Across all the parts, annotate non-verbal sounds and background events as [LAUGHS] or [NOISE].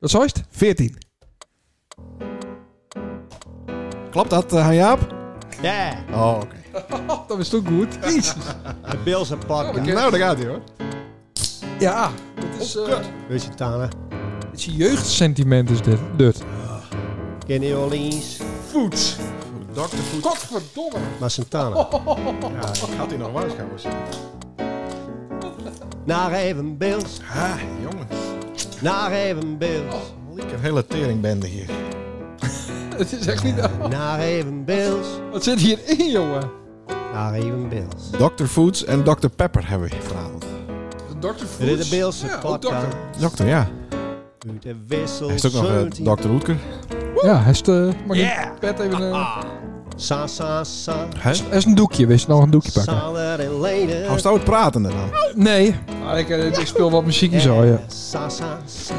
Dat is het? 14. Klopt dat, eh, Jaap? Ja, Oh, oké. Oh, dat is toch goed? [LAUGHS] Jezus. de Bills en Oh, Parker. oké. Nou, daar gaat hij hoor. Ja, dat is, eh Lusitana, het is je jeugdsentiment is dit. dit. Kenny Orleans, Voet. Oh. Dr. Food. Godverdomme. maar Santana. Ja, ik had hij nog waarschuwen. Naar even Bills, Ha, jongen. naar even Bills, Ik heb hele teringbende hier. Het is echt niet... [LAUGHS] naar even Bills, Wat zit hierin, jongen? naar even Bills. Dr. Foods en Dr. Pepper hebben we vanavond. Dr. Voet. Dit is de Bills Ja, en ook dokter. Parker. Dokter, ja. Uit de wissel Hij is ook nog eh, 17. Dr. Hoetker. Ja, hij is de... Mag Yeah. ik pet even... eh, Sa, sa, sa. Hè? Hij is een doekje. Wees nou een doekje pakken. Saler en Leden. Hou stout pratende dan. Nee. Maar ik, eh, ik speel wat muziekjes al, ja. Eh, Sa, sa, sa.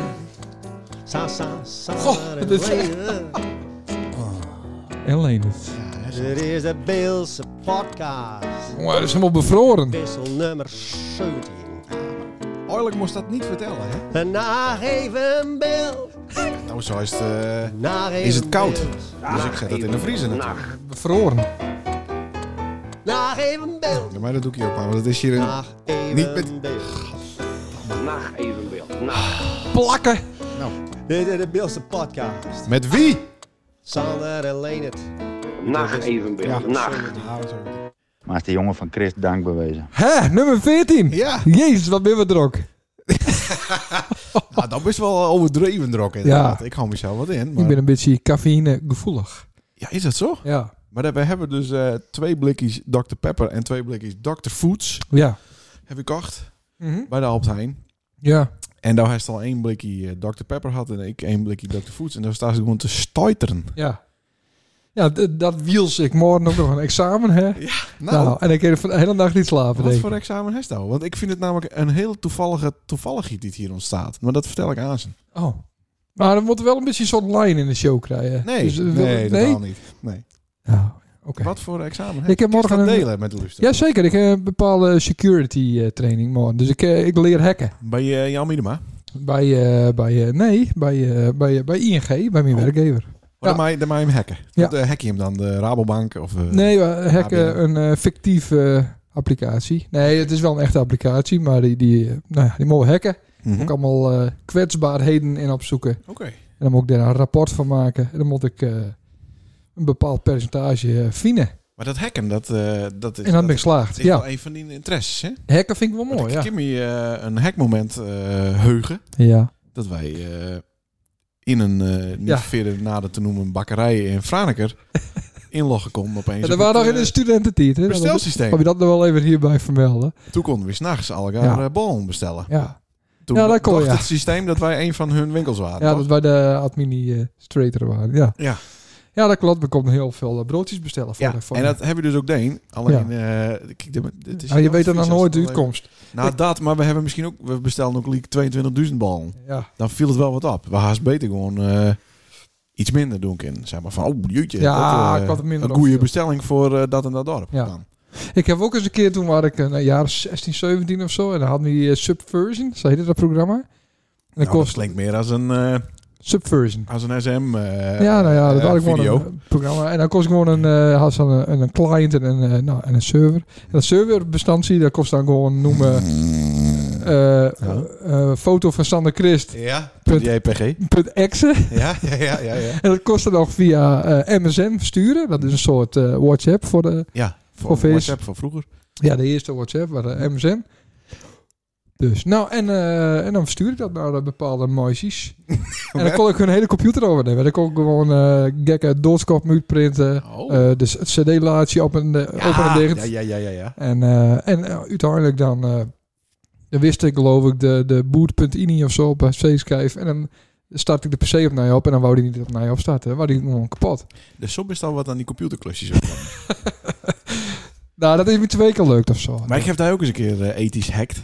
Sa, sa, sa. Goh, en dit is- Leden. En Leendert. Dit is de Bills podcast. Jongen, dat is helemaal bevroren. Wissel nummer 17. Oorlijk moest dat niet vertellen, hè? Een nageven Bills. Nou, zo is het... eh, Nageven Is het koud? Bills. dus ik zet het in de vriezer natuurlijk. Bevroren. Nageven Bills. Ja, maar dat doe ik hier ook maar, want het is hier een... Nageven Niet met- Bills. Nacht evenbeeld. Nacht. Plakken. Dit is de Bills podcast. Met wie? Sander en Leenert. Nacht evenbeeld. Nacht. Maar is de jongen van Chris dank bewezen. Hè, nummer 14. Ja. Jezus, wat ben we drok. Nou, dat is wel overdreven er ook inderdaad. Ja. Ik hou mezelf wat in. Ik Maar... ben een beetje cafeïnegevoelig. Ja, is dat zo? Ja. Maar dat- we hebben dus eh, twee blikjes Dr. Pepper en twee blikjes Dr. Foods. Ja. Heb ik acht bij de Albert Heijn. Mhm. Ja. En daar heeft al één blikje eh, Dr. Pepper had en ik één blikje Dr. Foods. En daar staan ze gewoon te stuiteren. Ja. Ja, d- dat wiels ik morgen ook nog een examen, hè? Nou, en ik heb de hele nacht niet slapen, wat denk ik. voor examen heeft nou? Want ik vind het namelijk een heel toevallige toevalligheid die hier ontstaat. Maar dat vertel ik aan ze. Oh. Maar dan moeten we wel een beetje zo'n line in de show krijgen. Nee, Dus, eh, wil- nee, totaal niet. Nee. Nou, oké. Wat voor examen Ik heb Kun je morgen dat een- delen met de luster. Jazeker, ik heb een bepaalde security eh, training morgen. Dus ik, eh, ik leer hacken. Bij eh, Jan Miedema. Bij, eh, bij eh, nee, bij, eh, bij, eh, bij ING, bij mijn Oh. werkgever. Oh, dan maai- Dan maai hem hacken. Ja. Want, eh, hack je hem dan de Rabobank of... eh, Nee, we hacken ABN. een eh, fictieve eh, applicatie. Nee, het is wel een echte applicatie, maar die, die, eh, nou ja, die mogen we hacken. mhm. Ook allemaal eh, kwetsbaarheden in opzoeken. Oké. En dan moet ik daar een rapport van maken. En dan moet ik eh, een bepaald percentage eh vinden. Maar dat hacken, dat, eh, Dus dat is... En dan ben ik geslaagd. Het is Ja, wel een van die interesses, hè? hacken vind ik wel Want mooi, ik ja. kan me eh, een hackmoment eh, heugen Ja, dat wij eh, in een eh, niet Ja. verder nader te noemen bakkerij in [LAUGHS] Franeker inloggen kon opeens. en op dat waren nog het, in de eh, studententijd. Hè? Dat- bestelsysteem. Heb je dat nog wel even hierbij vermelden? Toen konden we s'nachts algaar Ja. eh ballon bestellen. Ja, Toen Ja, dat kon, dacht ja. het systeem dat wij een van hun winkels waren. ja toch? dat wij de administrator waren. Ja. Ja. ja, dat klopt. We konden heel veel eh, broodjes bestellen. Voor Ja, de, voor en de- dat heb je dus ook deen. Alleen, eh, kijk, dit- dit is Ah, je weet dan nog nog nooit de uitkomst. Nou, dat, maar we hebben misschien ook, we bestellen ook leak 22.000 ballen. Ja, dan viel het wel wat op. We haast beter gewoon eh, iets minder doen kunnen. Zeg maar van, oh jeetje, Ja, dat, eh, ik had het minder een goede opgeschreven. bestelling voor eh, dat en dat dorp. Ja. Dan. ik heb ook eens een keer, toen was ik eh, nou, een jaar 16, 17 of zo. En dan hadden we die eh, Subversion, zo heette dat programma. En dat Nou, dat kost klinkt meer als een, eh, Subversion. als een SM eh, ja, nou ja, dat eh, had ik gewoon video. een programma. En dan kost gewoon een, eh, had ze dan een, een client en een, eh, nou, en een server. En dat serverbestandsie, dat kost dan gewoon [LAUGHS] noemen... eh, eh, foto van Sander Christ. Ja, Punt. JPG. .exe. Ja, ja, ja, ja. Ja, En dat kost dan nog via eh, MSN versturen. Dat is een soort eh, WhatsApp voor de, ja voor Of is- WhatsApp van vroeger. ja, de eerste WhatsApp, waar de MSN. Dus, nou, en, eh, en dan verstuur ik dat naar eh, bepaalde [LAUGHS] meisjes. en dan kon ik hun hele computer overnemen. Dan kon ik gewoon eh gekke doodskop printen. Oh. eh, dus het cd-laadje op en, eh, open en dicht. ja, ja, ja, ja, ja. En, eh, en eh, uiteindelijk dan, eh, dan wist ik geloof ik de, de boot.ini of zo op eh, C-schijf. En dan start ik de PC opnieuw op en dan wou die niet opnieuw opstarten. Dan wou die gewoon kapot. Dus zo is al wat aan die computerklusjes. ook. Nou, dat heeft me twee keer leuk of zo. maar ik heb daar ook eens een keer eh, ethisch hacked.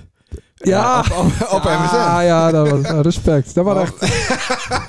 Ja. Eh, op, op, op Ja, MSN. ja, dat was nou, respect. Dat was Oh. echt...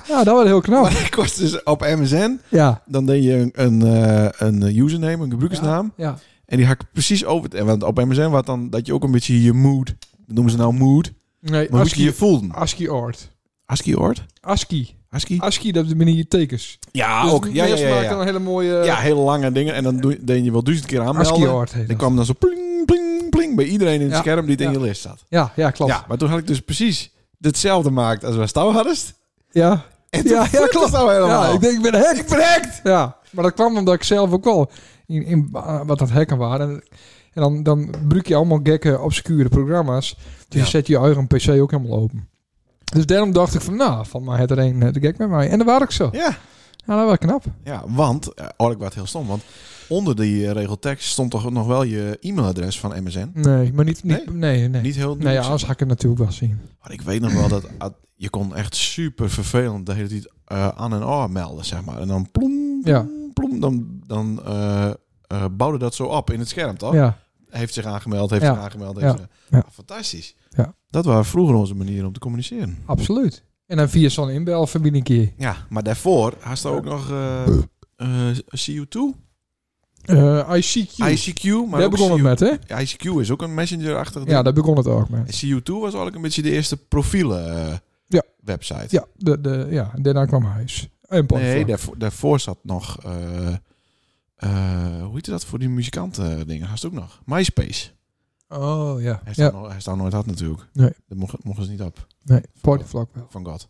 Ja, dat was heel knap. Maar [LAUGHS] dat kost dus op MSN. Ja, Dan deed je een, een, eh, een username, een gebruikersnaam. ja. En die hak ik precies over. En want op MSN wat dan dat je ook een beetje je mood. Dat noemen ze nou mood. Nee, Maar hoe je je ASCII, voelde. ASCII art. ASCII-oord? ASCII. ASCII? ASCII, dat zijn die tekens. Ja, Dus Ah, ook. Ja, ja, Meers ja, maakt dan ja. een hele mooie Ja, eh, hele lange dingen. En dan doe, deed je wel duizend keer aanmelden. ASCII-art. heet Dan dat. kwam dan zo pling, pling, pling bij iedereen in het Ja. scherm die het in Ja. je lijst zat. Ja, ja, klopt. Ja, maar toen had ik dus precies hetzelfde gemaakt als we Stouw hadden. Ja, En toen ja, ja, ja klopt. Stouw helemaal. Ja, ik denk, ik ben hacked. ik ben hacked! Ja, maar dat kwam omdat ik zelf ook wel in, in eh, wat dat hacken waren. En, en dan, dan gebruik je allemaal gekke, obscure programma's. Dus Ja. je zet je eigen PC ook helemaal open. Dus daarom dacht ik van, nou, van mij het er een eh, de gek met mij. En dat was ik zo. Ja, Ja, dat was knap. ja want, eh, hoor ik wat heel stom, want onder die eh, regeltekst stond toch nog wel je e-mailadres van MSN? Nee, maar niet... niet nee, nee. Niet heel nee, ja, niks. anders had ik het natuurlijk wel zien. Maar ik weet nog wel dat ah, je kon echt super vervelend de hele tijd eh, aan en aan melden, zeg maar. En dan plom, plom, Ja. plom, dan, dan eh, eh, bouwde dat zo op in het scherm, toch? Ja, Heeft zich aangemeld, heeft Ja. zich aangemeld. Heeft Ja. zich- Ja. Ah, Fantastisch. Ja. Dat waren vroeger onze manieren om te communiceren. absoluut. En dan via zo'n inbelverbinding hier. Ja, maar daarvoor had je ook nog eh eh, CU2, Eh ICQ. ICQ. Maar daar ook begon het CU met, hè? ICQ is ook een messenger-achtig ding. Ja, daar begon het ook met. En CU2 was eigenlijk een beetje de eerste profielen eh, Ja. website. Ja, de, de, ja daarna kwam huis. En platform. Nee, daarvoor, daarvoor zat nog... eh, eh, hoe heette dat voor die muzikanten eh, dingen? Haast ook nog. MySpace. Oh, ja. Hij staat Ja, nog hij staat nooit had natuurlijk. Nee. Daar mochten, mochten ze niet op. nee, partyvlak wel. Van God.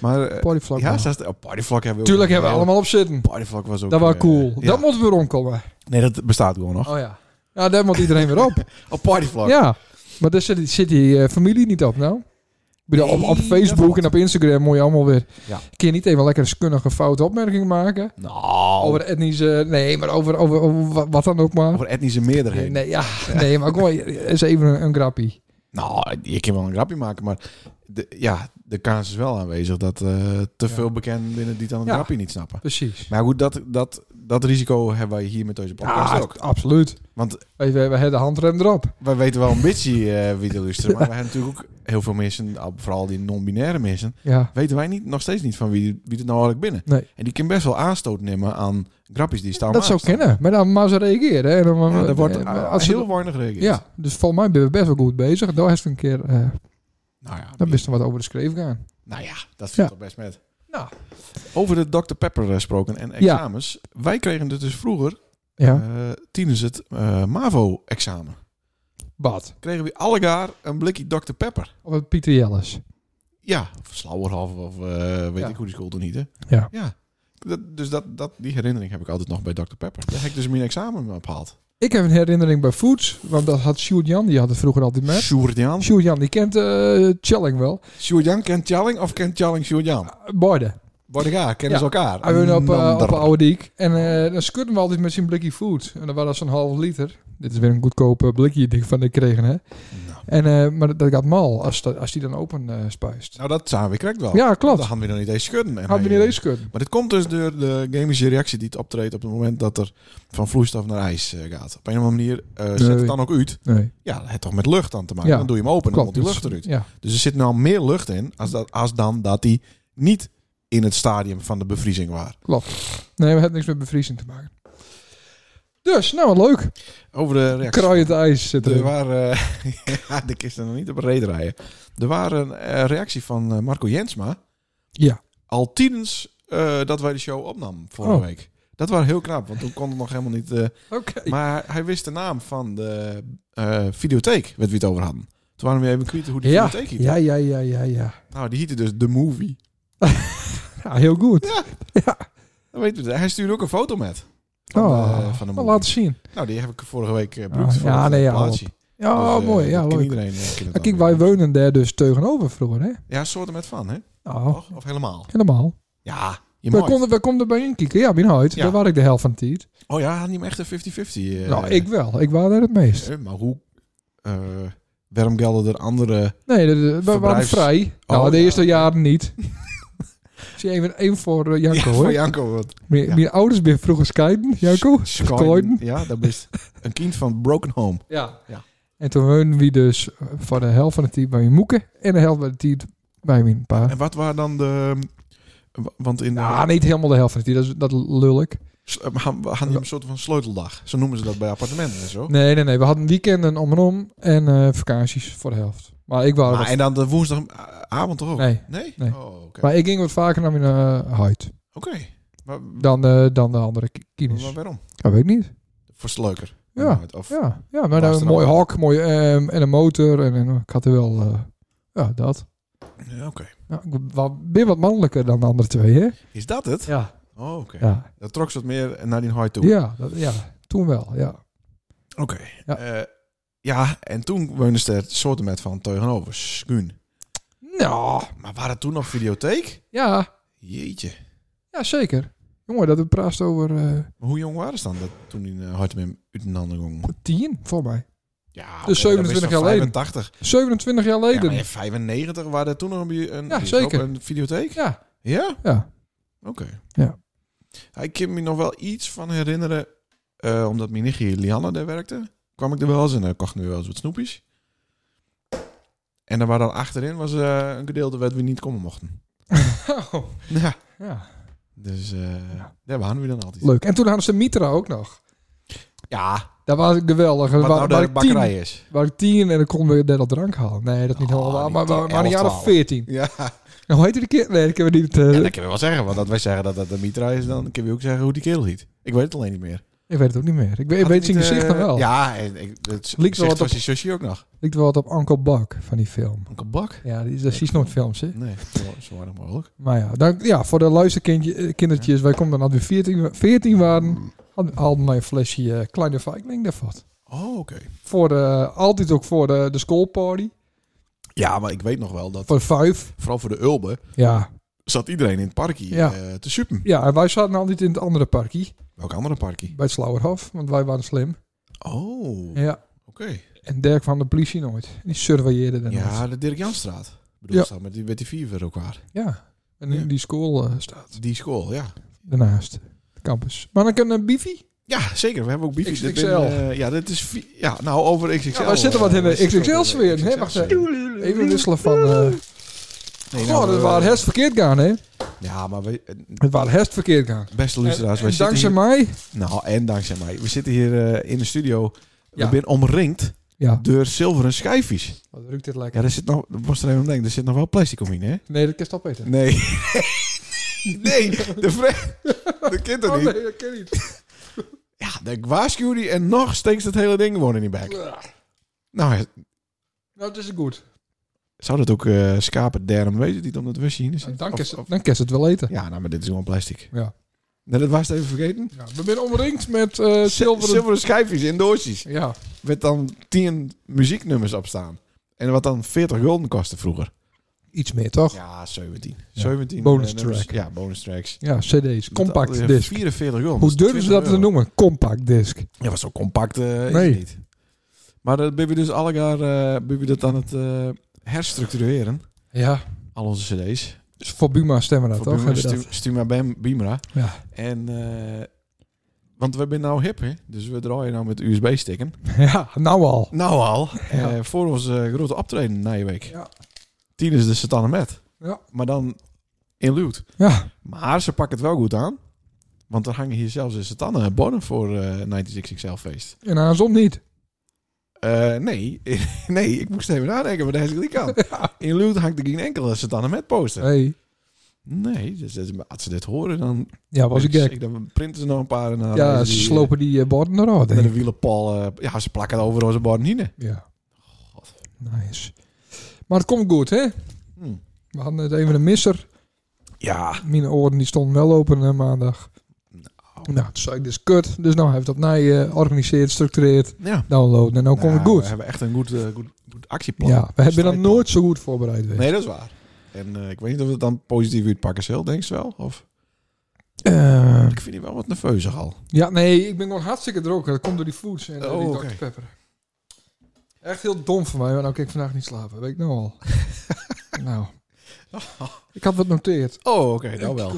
Maar eh, Partyvlak ja, wel. staat, oh, Partyvlak hebben we ook Tuurlijk nog. hebben we allemaal op zitten. Partyvlak was ook... Dat was eh, cool. ja. Dat moeten we rondkomen. Nee, dat bestaat gewoon nog. Oh ja. Ja, daar moet iedereen [LAUGHS] weer op. Oh, Partyvlak. Ja. Maar daar zit, zit die eh, familie niet op nou. Ik bedoel, op, op Nee, dat Facebook klopt. en op Instagram moet je allemaal weer... Ja. Kun je niet even lekker een schunnige foute opmerking maken. Nou, over, Over etnische... Nee, maar over, over, over wa- wat dan ook maar. etnische meerderheden. Nee, ja, nee, maar gewoon eens even een, een grappie. Nou, je kan wel een grapje maken, maar de, ja, de kans is wel aanwezig dat eh, te Ja. veel bekenden binnen die het aan een Ja. grapje niet snappen. Precies. Maar goed, dat, dat, dat risico hebben wij hier met deze podcast Ja, ook. absoluut. Want We, we, we hebben de handrem erop. wij weten wel een beetje eh wie te luisteren, maar wij hebben natuurlijk ook heel veel mensen, ah, vooral die non-binaire mensen, Ja. weten wij niet, nog steeds niet van wie, wie het nou eigenlijk binnen. Nee. En die kan best wel aanstoot nemen aan grapjes die staan. Dat zou kennen. Maar dan maar ze reageren. Hè. En dan, Ja, daar wordt eh, eh, als ze- heel weinig gereageerd. Ja, dus volgens mij ben we best wel goed bezig. Daar is een keer... eh, Nou ja, Dan wist er wat over de schreef gaan. Nou ja, dat Ja. viel toch best met. Nou. Over de Dr. Pepper eh, gesproken en examens. Wij kregen het dus vroeger, Ja, eh, tijdens het eh, MAVO-examen, bad. kregen we allegaar een blikje Dr. Pepper. Of het Pieter Jelles. Ja, of Slauerhof of eh, weet Ja. ik hoe die school toen niet, hè? Ja. ja. Dat, dus dat, dat, die herinnering heb ik altijd nog bij Dr. Pepper. Daar heb ik dus mijn examen opgehaald. Ik heb een herinnering bij Foods, want dat had Sjoerd Jan, die had het vroeger altijd met. Sjoerd-Jan. Sjoerd Jan, die kent eh Chelling wel. Sjoerd-Jan kent Tjalling of kent Tjalling Sjoerd-Jan? Borden. Worden elkaar, kennen Ja. ze elkaar. Hij woonde op, eh, op Nander. Oude Diek. En eh, dan schudden we altijd met zijn blikje food. En dan was dat zo'n half liter. Dit is weer een goedkope blikje die ik van ik kregen, hè. Nou. En, eh, maar dat gaat mal als, dat, als die dan open eh, spuist. Nou, dat zijn we correct wel. Ja, Dat klopt. hadden we nog niet eens schudden. En Had we hij- niet eens kunnen. Maar dit komt dus door de chemische reactie die het optreedt op het moment dat er van vloeistof naar ijs eh, gaat. Op een of andere manier eh, zet Nee. het dan ook uit. Nee, Ja, het heeft toch met lucht aan te maken. Ja, Dan doe je hem open en dan klopt. komt die Dus- lucht eruit. Ja, Dus er zit nou meer lucht in als, dat, als dan dat die niet in het stadium van de bevriezing was. nee, we hebben niks met bevriezing te maken. Dus, nou wat leuk. Over de reactie. Kraai het ijs zit Er erin. waren, eh, [LAUGHS] ja, de kisten nog niet op een reet rijden. Er waren een reactie van eh, Marco Jensma. Ja. Al tienens eh, dat wij de show opnamen vorige Oh. week. Dat was heel knap, want toen kon het nog helemaal niet... eh, Oké. Maar hij wist de naam van de eh videotheek, waar we het over hadden. Toen waren we even kwijt hoe die Ja, videotheek heette. ja, ja, ja, ja, ja. Nou, die heette dus The Movie. Ja, heel goed. Dan weten we het. Hij stuurde ook een foto met. Van Oh, de, van de nou, movie. laten zien. Nou, die heb ik vorige week eh broekt Ah, voor ja, het, eh, nee, ja, plaatsje. Ja, Dus, eh, mooi. dat Ja, kan leuk. Iedereen, eh, kan het Maar dan kijk, weer. wij wonen daar dus tegenover vroeger, hè? Ja, soorten met van, hè? Nou, Toch? Of helemaal? helemaal. Ja, je We mag. konden, we konden bij inkieken. Ja, mijn huid. Ja. Daar was ik de helft van de tijd. Oh ja, had niet meer echt een 50-50. eh, nou, ik wel. Ik was daar het meest. eh, maar hoe... eh waarom gelden er andere... Nee, de- de- we waren Verbruiks- vrij. nou, Oh, de ja. eerste jaren [LAUGHS] niet. Zie even, even voor eh, Janko, ja, hoor. voor Janko. Wat. Mijn, mijn ouders ben vroeger scheiden, Janko. Skoiden. Ja, dat is een kind van Broken Home. Ja. Ja. En toen woonden we dus eh, voor de helft van de tijd bij mijn moeke en de helft van de tijd bij mijn pa. Ah, En wat waren dan de... Want in de... Ja, niet helemaal de helft van de tijd, dat, is- dat lul ik. s- eh, gaan- we Hadden die een soort van sleuteldag. Zo noemen ze dat bij appartementen en zo. Nee, nee, nee. We hadden weekenden om en om en eh, vakanties voor de helft. Maar ik wou Maar, wat- en dan de woensdagavond toch ook? Nee. Nee? Nee. Oh, oké. Maar ik ging wat vaker naar mijn eh, huid Oké. Maar dan, eh, dan de andere ki- kines. maar waarom? Dat weet ik niet. Voor het leuker. Ja, Of, ja, ja maar dan Was er een mooi nog- hok mooi, ehm, en een motor. En, en ik had er wel... eh, ja, dat. Ja, Oké. Ja, ik ben weer wat mannelijker dan de andere twee, hè? Is dat het? Ja. Oh, oké. Ja, Dat trok ze wat meer naar die hooi toe. ja, dat- ja toen wel, ja. Oké. Ja. Eh, ja, en toen woonde ze er soorten met van tegenover. Skuun. Nou, Maar waren het toen nog videotheek? ja, Jeetje. ja zeker. Jongen, dat we praten over eh, Maar hoe jong waren ze dan dat, toen die uh, Hartemim uit een ander ging? tien, voor mij. Ja, Dus oké, dan is 27 dat jaar geleden. 85. 27 jaar Ja, maar geleden. in 95 waren er toen nog een, een, Ja, die- zeker. een videotheek? [LAUGHS] Ja, Ja? ja. Oké. Ja. Ja, Ik kan me nog wel iets van herinneren, eh, omdat mijn nichtje Lianne daar werkte, kwam ik er wel eens en dan kocht nu wel eens wat snoepjes. En daar waar dan achterin was eh, een gedeelte waar we niet komen mochten. Oh. Ja, ja. dus eh, daar waren we dan altijd. Leuk. En toen hadden ze Mitra ook nog. Ja, Dat was geweldig. wat Waar- waar nou de ik tien- Eh, bakkerij is. Waar ik tien en dan konden we daar al drank halen. Nee, dat is niet Oh, helemaal waar. niet Maar, maar, tien, maar een jaar elf, of twaalf. veertien. Nou, Ja, Hoe heette die keer? Nee, ik heb het niet... eh, ja, dat kunnen we wel zeggen, want dat wij zeggen dat dat de mitra is, dan kunnen we ook zeggen hoe die kerel heet. Ik weet het alleen niet meer. Ik weet het ook niet meer. Ik, weet- ik Had weet hij zijn niet, gezicht eh, dan wel. Ja. Ja, en ik, het wel gezicht wat was op- die zusje ook nog. Ik wel wat op Uncle Buck van die film. Onkel Bak? Ja, die, dat zie je nooit films, hè? Nee, zo- zo weinig mogelijk. Maar ja, dan, ja voor de luisterkindje, eh, kindertjes, wij konden dan weer 14, wa- 14 waren, had- haalden mij een flesje eh, kleine Viking daarvan. Oh, oké. Voor de, altijd ook voor de, de schoolparty. Ja, maar ik weet nog wel dat, Voor vijf. vooral voor de Ulben, Ja. zat iedereen in het parkje Ja. eh, te suppen. ja, en wij zaten altijd in het andere parkje, Welk andere parkje? bij het Slauerhof, want wij waren slim. Oh, oké. Ja. En Dirk van de politie nooit. Die surveilleerde dan nooit. Ja, de Dirk Janstraat. Ik bedoel, Ja. staat met die, met die vier ook waar. Ja. En in Ja. die school eh, staat Die school, ja. daarnaast, de campus. Maar dan kunnen een bifi. Ja, zeker. We hebben ook biefjes. Dit XXL. ben, eh, ja, dit is... vi- Ja, nou, over XXL. Ja, we zitten wat in de eh, we zitten XXL ook sfeer, in de hè? XXL Wacht sfeer. Even wisselen van... eh Nee, oh, nou, dat we- waren herst verkeerd gaan, hè? Ja, maar we... eh, Het waren herst verkeerd gaan. Beste luisteraars, wij En zitten dankzij hier... mij... Nou, en dankzij mij. We zitten hier eh, in de studio. We Ja. zijn omringd Ja. door zilveren schijfjes. Wat Oh, ruikt dit Ja, lekker? er zit nog, dat was er even aan denken, er zit nog wel plastic om in, hè? Nee, dat kan je opeten. Nee. [LAUGHS] nee, de vre Dat kind toch Oh niet? nee, dat kan niet. Ja, ik waarschuw die en nog steekt het hele ding gewoon in die bek. Nou, Nou, dat is goed. zou dat ook eh schapen derm wezen die het om dat wesje heen zit? Dan Of- kan ze- of- dan kan ze het wel eten. Ja, nou, maar dit is gewoon plastic. Oh, Ja. Nee, dat was het even vergeten. Ja, we zijn omringd met eh zilveren... Zilveren schijfjes in doosjes. Ja. Met dan tien muzieknummers op staan. En wat dan 40 gulden kostte vroeger. Iets meer, toch? Ja, Ja, 17. Ja. 17 Bonus eh, nummers. track. Ja, bonus tracks. cd's. Dat- eh, Compact disc. 44 gulden. Hoe durven ze dat te doen? noemen? Compact disc. Ja, was zo compact eh, Nee. is het niet. Maar dat ben je dus alle jaar eh, ben je dat aan het eh, herstructureren. Ja. Al onze cd's. Dus voor Buma stemmen dat, Voor toch? Buma, Hebben Stu- dat. Stuma Bam, Bimra. Ja. En, eh, want we zijn nou hip, hè? Dus we draaien nou met USB-sticken. [LAUGHS] ja, nou al. Nou al. Ja. eh, voor onze grote optreden na je week. Ja. Tien is de Satana Met. Ja. Maar dan in Luwt. Ja. Maar ze pakken het wel goed aan. Want er hangen hier zelfs een Satana borden voor eh 96XL-feest. En andersom niet. Eh, nee, [LAUGHS] nee, ik moest even nadenken, maar daar is ik [LAUGHS] niet aan. In Luwt hangt er geen enkele Satana met poster. Hey. Nee, dus, dat is- als ze dit horen, dan, Ja, was ik gek. dan printen ze nog een paar. En dan Ja, lezen ze die, eh, slopen die eh, borden eruit. Met denk een ik. wielenpal. eh, ja, ze plakken het over onze borden heen. Ja. Nice. Maar het komt goed, hè? Hm. We hadden net even een misser. Ja. Mijn oren die stonden wel open eh, maandag. Nou, toen zei ik, dit is kut. Dus nou heeft dat mij georganiseerd, structureerd, ja. downloaden. En nou komt Nou, het goed. We hebben echt een goed, eh, goed, goed actieplan. ja, we hebben dan Strijdplan. nooit zo goed voorbereid geweest. Nee, dat is waar. En eh, ik weet niet of we het dan positief uitpakken zal, denk je wel? Of, Eh, ik vind die wel wat nerveuzig al. ja, nee, ik ben gewoon hartstikke dronken. Dat komt door die foods en eh, Oh, die oké. Dr. Pepper. Echt heel dom van mij, want nou kan ik vandaag niet slapen. Weet ik nou [LAUGHS] al. nou. Ik had wat noteerd. Oh, oké, nou wel.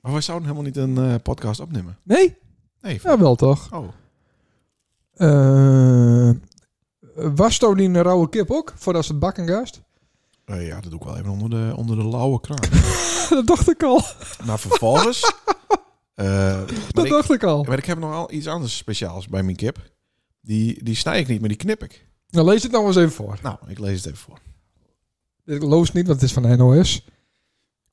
Maar we zouden helemaal niet een eh, podcast opnemen. Nee? Nee. Ja, wel toch. Oh. Eh was toen die een rauwe kip ook, voordat ze het bakken [LAUGHS] gast? Eh, ja, dat [LAUGHS] doe ik wel even onder de, onder de lauwe kraan. dat dacht ik al. maar vervolgens Eh, maar Dat ik- dacht ik al. Maar ik heb nogal iets anders speciaals bij mijn kip. Die, die snij ik niet, maar die knip ik. Nou, lees het nou eens even voor. Nou, ik lees het even voor. Ik loos niet, want het is van de NOS.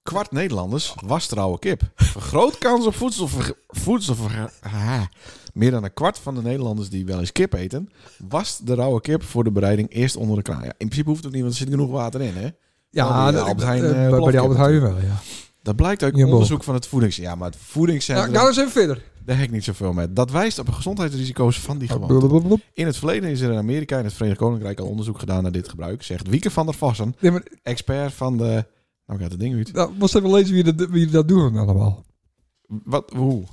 Kwart Nederlanders was trouwe kip. Vergroot kans op voedselver... voedselver ah. [LAUGHS] Meer dan een kwart van de Nederlanders die wel eens kip eten... was de rauwe kip voor de bereiding eerst onder de kraan. Ja, in principe hoeft het niet, want er zit genoeg water in, hè? Ja, die dat- Albert Heijn, eh, eh, bij plofkip die Albert Heijn wel, ja. Dat blijkt uit Jumbo. Nou, onderzoek van het voedings... Ja, maar het ja. voedingscentrum... Ga eens even verder. Daar heb ik niet zoveel mee. Dat wijst op de gezondheidsrisico's van die gewoonte. Blablabla. In het verleden is er in Amerika en het Verenigd Koninkrijk al onderzoek gedaan naar dit gebruik, zegt Wieke van der Vossen, Nee, maar, expert van de. Nou, gaat het ding uit. nou, moest even lezen wie dat, wie dat doen allemaal. Wat, hoe?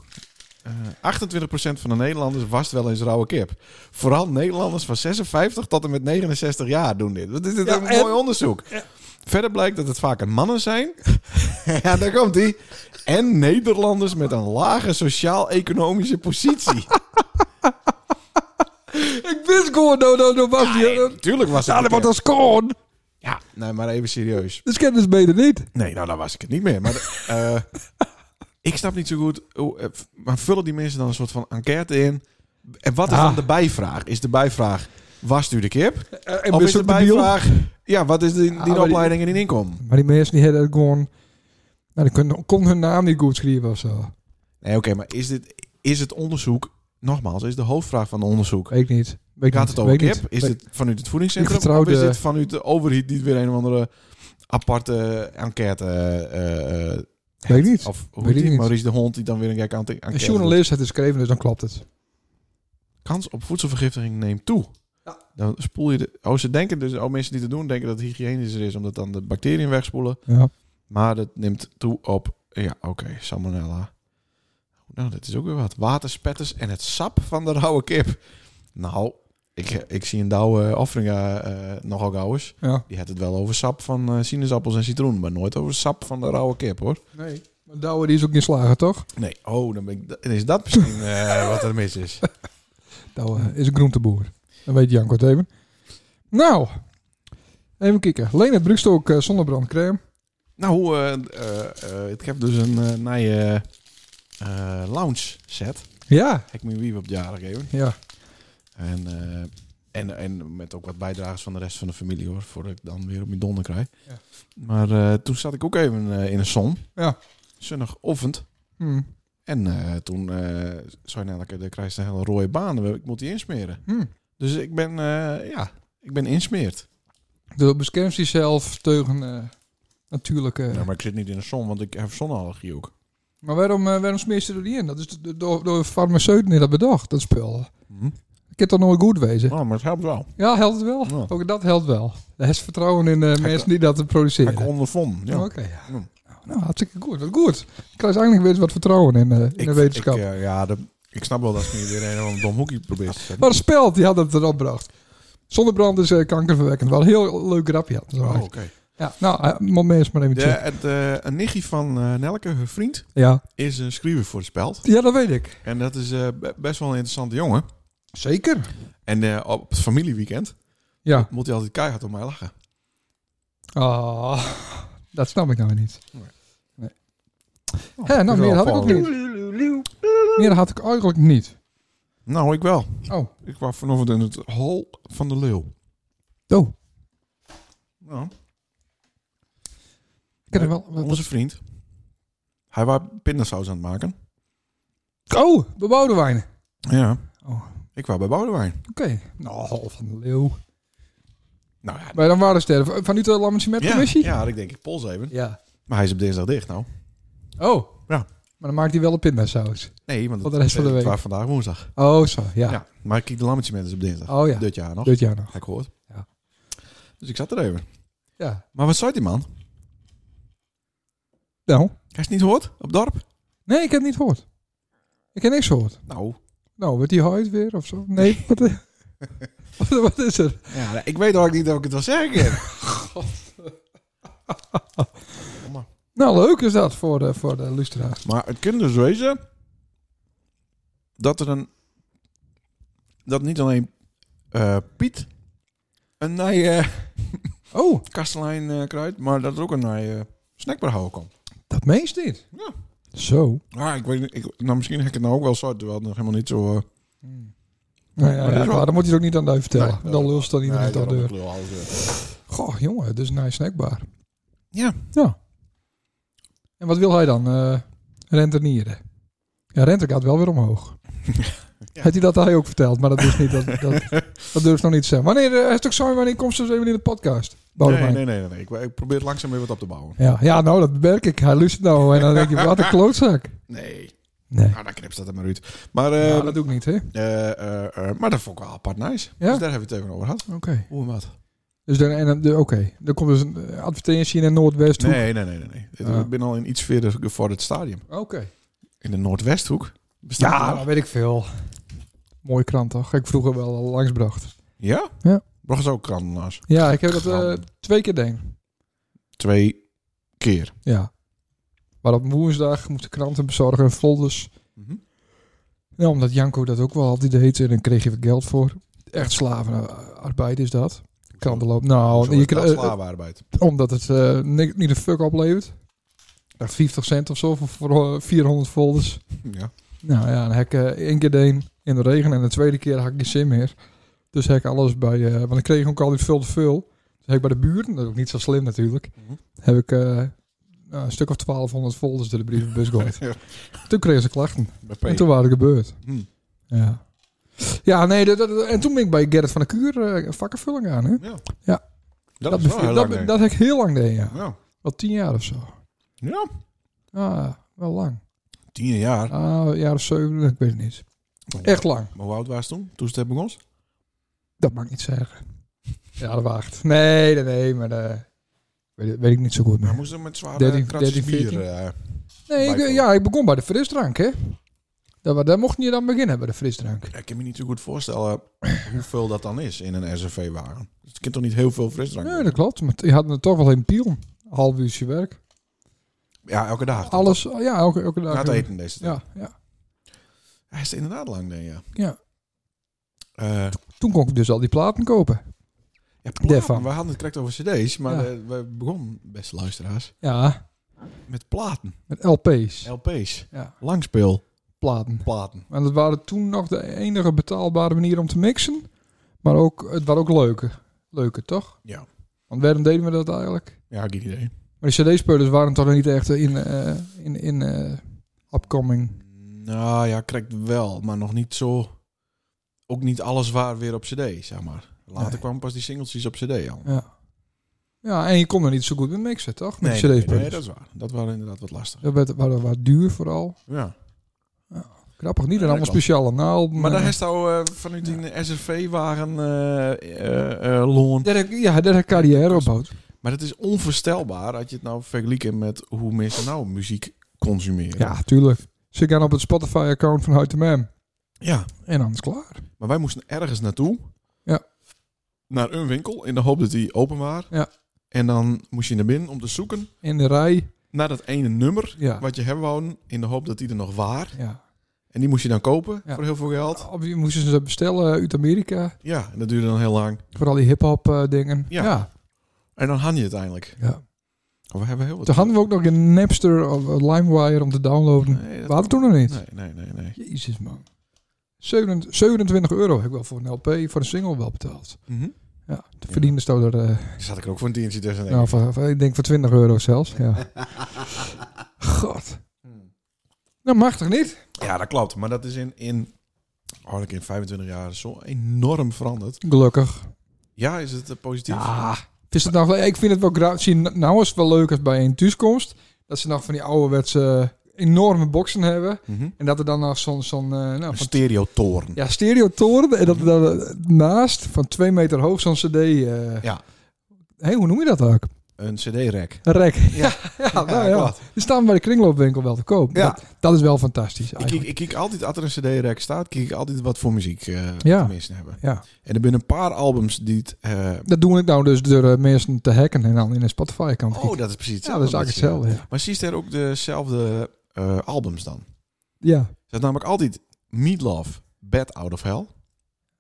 Eh, 28% van de Nederlanders was wel eens rauwe kip. Vooral Nederlanders van 56 tot en met 69 jaar doen dit. Wat is dit Ja, een en- mooi onderzoek. Verder blijkt dat het vaker mannen zijn. [LAUGHS] ja, daar komt die. En Nederlanders met een lage sociaal-economische [LAUGHS] positie. Ik wist gewoon, nou, nou, nou, was die. Ja, Tuurlijk was het. dat een wordt kip. als koon. Ja, nee, maar even serieus. Dus kennis beter niet. Nee, nou, dan was ik het niet meer. Maar [LAUGHS] de- eh, ik snap niet zo goed. hoe- eh, v- maar vullen die mensen dan een soort van enquête in? En wat is Ah. dan de bijvraag? Is de bijvraag: was u de kip? Eh, En of is wist de het debiel? bijvraag: ja, wat is de, die Ah, maar die- opleiding en die inkomen? Maar die mensen die hadden het gewoon... Nou, die konden, kon hun naam niet goed schrijven of zo. Nee, oké, maar is, dit, is het onderzoek, nogmaals, is de hoofdvraag van het onderzoek. Weet ik niet. Weet ik Gaat niet. het over Weet ik kip? niet. Is Weet- dit vanuit het voedingscentrum? Ik vertrouw of is de- dit vanuit de overheid die weer een of andere aparte enquête... eh, eh, Weet ik niet. Of hoe Weet heet ik die? niet. Maurice de Hond die dan weer een gek enquête Een doet. journalist heeft het geschreven, dus dan klopt het. kans op voedselvergiftiging neemt toe. Ja. Dan spoel je de. Oh, ze denken dus. Oh, mensen die het doen, denken dat het hygiënischer is, omdat dan de bacteriën wegspoelen. Ja. Maar dat neemt toe op. Ja, oké, salmonella. Nou, dat is ook weer wat. Waterspetters en het sap van de rauwe kip. Nou, ik, ik zie een douwe offeringa eh nogal gauw eens. ja. Die had het wel over sap van eh, sinaasappels en citroen, maar nooit over sap van de rauwe kip, hoor. Nee. Maar Douwe die is ook niet slager, toch? Nee, oh, dan ben ik, dan is dat misschien [LAUGHS] eh, wat er mis is. Douwe eh, is een groenteboer. Dan weet Janko het even. Nou. Even kijken. Lena Brugstok eh, zonnebrandcrème. Nou, eh, eh, eh, ik heb dus een eh nieuwe eh, lounge set. Ja. Heb Ik mijn wief op de jaren gegeven. Ja. En, eh, en, en met ook wat bijdragers van de rest van de familie hoor. Voordat ik dan weer op mijn donder krijg. Ja. Maar eh, toen zat ik ook even eh, in de zon. Ja. Zonnig offend. Hm. En eh, toen eh zei Nelke, daar krijg je een hele rode baan. Ik moet die insmeren. Hm. Dus ik ben, eh, ja, ik ben insmeerd. Dus beschermt zichzelf tegen eh, natuurlijke... Ja, maar... maar ik zit niet in de zon, want ik heb zonallergie ook. waarom, eh, waarom smeer je er niet in? Dat is de- door, door farmaceuten die dat bedacht, dat spul. Hm. Ik heb toch nooit goed wezen. Oh, maar het helpt wel. Ja, helpt het wel. Ja. Ook dat helpt wel. Er is vertrouwen in de mensen die dat produceren. Heb ik ondervonden. Ja. Oh, Oké, ja. Ja. Nou, hartstikke goed. Wat goed. Ik krijg eigenlijk weer eens wat vertrouwen in, eh, in de wetenschap. Ik, eh, ja, de- ik snap wel dat ze nu weer een of ander dom hoekje probeert te zetten. maar Speld, die had het erop gebracht. Zonnebrand is eh, kankerverwekkend. Wel een heel leuk grapje. had het Oh, gemaakt. oké. Ja, nou, eh, moment eens maar even De- checken. het, eh, Een nichtje van eh, Nelke, haar vriend, Ja. is een schrijver voor de speld. ja, dat weet ik. En dat is eh, be- best wel een interessante jongen. Zeker. En eh, op het familieweekend Ja. moet hij altijd keihard om mij lachen. Ah, [LAUGHS] dat snap ik nou weer niet. Oh, Hè, dat nou, is meer wel had ik ook opvallend. niet. Meer had ik eigenlijk niet. Nou, ik wel. Oh. Ik kwam vanochtend in het hol van de leeuw. Oh, Nou, ik heb er wel... wat- onze vriend. Hij was pindasaus aan het maken. Oh, bebouwde wijn. Ja. Oh. Ik was bij Boudewijn. Oké. Nou, half van de leeuw. Nou ja. Maar dan waren ze er. Vanuit de Lammetje met Ja, commissie? ja, had ik denk ik pols even. Ja. Maar hij is op dinsdag dicht nou. Oh. Ja. Maar dan maakt hij wel een pindasaus. Nee, want Voor de rest van de het week. was vandaag woensdag. Oh, zo. Ja. Ja. Maar kijk, de lammetje mensen op dinsdag. Oh ja. Dit jaar nog. Dit jaar nog. Heb ik gehoord. Ja. Dus ik zat er even. Ja. Maar wat zei die man? Hij Nou. is het niet gehoord op het dorp? Nee, ik heb het niet gehoord. Ik heb niks gehoord. Nou, Nou, wordt die huid weer of zo? Nee, wat, [LAUGHS] wat, wat is er? ja, ik weet ook niet of ik het wel [LAUGHS] zeggen kan. Nou, leuk is dat voor de, voor de luisteraars. maar het kan dus wezen dat er een... Dat niet alleen eh, Piet een nieuwe eh Oh, kastelein eh, kruid, maar dat er ook een nieuwe snackbar houden komt. dat meest niet. Ja. Zo. Ah, ik weet niet, ik, nou, misschien heb ik het nou ook wel zo, terwijl het nog helemaal niet zo... eh, Nou ja, Maar dit ja, is wel- maar dan moet je het ook niet aan de vertellen. Nee. dan lulst dan iedereen nee, tot de daarom, deur. ik lul alles weer. Goh, jongen, dit is een nice snackbar. Ja. Ja. En wat wil hij dan? Eh rentenieren. Ja, rente gaat wel weer [LAUGHS] omhoog. Had hij dat hij ook verteld, maar dat is niet. Dat, [LAUGHS] dat, dat durft nog niet te zeggen. Wanneer, eh, hashtag sorry, wanneer komt ze even in de podcast? Nee, Boudewijn? nee, nee, nee, nee. Ik, ik probeer langzaam weer wat op te bouwen. Ja, ja, nou, dat merk ik. Hij luistert nou en dan denk je, wat [LAUGHS] een klootzak. Nee. Nee. Nou, dan knipt dat er maar uit. Maar, eh, Ja, dat doe ik niet, hè? Oké. eh, eh, eh, maar dat vond ik wel apart nice. Ja? Dus daar hebben we het even over gehad. Hoe en wat? Dus dan, en, dan- de- oké. er komt dus een eh, advertentie in het Noordwest. Nee, nee, nee, nee. nee. Dit- Ah. Ik ben al in iets verder gevorderd stadium. Oké. In de Noordwesthoek. Bestaat Ja, het dat nog? weet ik veel. Mooie krant toch? Ik vroeger wel al langsbracht. Ja? Ja. Bracht ze ook kranten naast. Ja, ik heb dat eh, Krant. twee keer deed. Twee keer. Ja. Maar op woensdag moesten kranten bezorgen en folders. Mhm. Ja, omdat Janko dat ook wel altijd deed en dan kreeg je er geld voor. Echt slavenarbeid is dat. Krantenloop. Nou, Zo je is kra- dat eh, slavenarbeid. omdat het eh, ni- niet een fuck oplevert. Ik dacht 50 cent of zo voor, voor eh, 400 folders. Hm, Ja. Nou ja, dan heb ik eh, één keer deen in de regen en de tweede keer had ik geen zin meer. Dus heb ik alles bij, eh, want ik kreeg ook altijd veel te veel. Dus heb ik bij de buren, dat is ook niet zo slim natuurlijk, Mhm. heb ik eh, nou, een stuk of 1200 folders door de [LAUGHS] brievenbus gegooid. Ja. Toen kregen ze klachten Bij P. en toen waren het gebeurd. Hm. Ja. Ja, nee, dat, dat- en toen ben ik bij Gerrit van der Kuur eh vakkenvulling aan. Hè? Ja. Ja. Dat, is wel bev- heel dat, lang, denk ik. dat heb ik heel lang deed, ja. Ja. Wel tien jaar of zo. Ja. Ah, wel lang. Tien jaar. Ah, een jaar of zeven, ik weet het niet. Echt lang. Maar hoe oud was het toen? Toen ze het begon? Dat mag ik niet zeggen. Ja, dat wacht. Nee, nee, nee, maar eh, weet, weet ik niet zo goed Maar meer. moest er met zware 13, kratjes 13, bier... 14? eh, Nee, ik, Bijvoorbeeld. ja, ik begon bij de frisdrank, hè. Daar, wa- daar mocht je dan beginnen, bij de frisdrank. ja, ik kan me niet zo goed voorstellen [CLEARS THROAT] hoeveel dat dan is in een SRV-wagen. Dus het kan toch niet heel veel frisdrank Nee, worden? dat klopt. Maar je had er toch wel een piel. Half uurtje werk. Ja, elke dag. Alles, ja, elke, elke dag. Na het eten deze dag. Ja, ja, Hij is inderdaad lang, denk je. ja. Eh, Toen kon ik dus al die platen kopen. ja, platen. Daarvan. We hadden het correct over cd's, maar Ja. eh, we begonnen, beste luisteraars, Ja, met platen. met LP's. LP's. Ja, Langspeelplaten. platen. En dat waren toen nog de enige betaalbare manier om te mixen. Maar ook, het waren ook leuke. Leuke, toch? Ja. Want waarom deden we dat eigenlijk? Ja, geen idee. Maar de cd-spelers waren toch niet echt in, eh, in, in eh, upcoming. Nou ja, correct wel, maar nog niet zo. Ook niet alles waar weer op CD, zeg maar. Later Nee. kwamen pas die singeltjes op CD al. Ja. ja, en je kon er niet zo goed mee mixen, toch? Met de nee, cd-spelers. nee, dat is waar. Dat waren inderdaad wat lastig. Dat werd, waren, waren duur vooral. Ja. Grappig, niet en dat allemaal klopt. speciale naald. Maar daar is nou eh, vanuit een SRV-wagen eh eh, eh, loon. daar heb ik- ja, daar heb ik carrière op bouwt. Maar het is onvoorstelbaar dat je het nou vergelijkt met hoe mensen nou muziek consumeren. Ja, tuurlijk. Ze gaan op het Spotify-account van Houten Mam. ja. En dan is het klaar. Maar wij moesten ergens naartoe. Ja. Naar een winkel in de hoop dat die open was. Ja. En dan moest je naar binnen om te zoeken In de rij. naar dat ene nummer Ja. wat je hebben wou in de hoop dat die er nog waren. ja. En die moest je dan kopen Ja. voor heel veel geld. Op- je Moesten ze dat bestellen Eh, uit Amerika. Ja, en dat duurde dan heel lang. Voor al die hip-hop eh, dingen. Ja. ja. En dan had je het eindelijk. ja. Oh, we hebben heel wat. Toen hadden we ook nog een Napster of een LimeWire om te downloaden. Nee, dat we hadden kon- toen nog niet. Nee, nee, nee, nee. Jezus, man. 27, 27 euro heb ik wel voor een LP, voor een single wel betaald. Mhm. Ja, de verdiende stond er, eh, Zat ik er ook voor een tientje tussen. denk nou, ik. voor, voor- ik denk voor 20 euro zelfs. [LAUGHS] Ja. God. Hmm. Nou, mag toch niet? Ja, dat klopt. Maar dat is in, in, oh, in 25 jaar zo enorm veranderd. Gelukkig. Ja, is het eh, positief? Ja. Is het nou, ik vind het wel graag. Zie, nou is het wel leuk als bij een thuiskomst. Dat ze nog van die ouderwetse eh, enorme boxen hebben. Mhm. En dat er dan nog zo'n... zo'n eh, nou, Een van, stereotoren. ja, stereotoren. En dat er dan eh, naast van twee meter hoog zo'n cd... eh, Ja. Hé, hoe noem je dat ook? Een cd-rek. Een rek. Ja, [LAUGHS] Ja. ja, nou Ja, ja. klopt. Die staan bij de kringloopwinkel wel te koop. Ja. Dat, dat is wel fantastisch Ik, eigenlijk. kijk- ik kijk altijd, als er een cd-rek staat, kijk ik altijd wat voor muziek eh Ja. te missen hebben. Ja. En er zijn een paar albums die het... eh, Dat doe ik nou dus door eh, mensen te hacken en dan in een Spotify kan oh, dat is precies hetzelfde. ja, dat is wat eigenlijk hetzelfde. je- Ja. Maar zie je er ook dezelfde eh, albums dan? ja. Dat is namelijk altijd Meatloaf, Bad Out of Hell.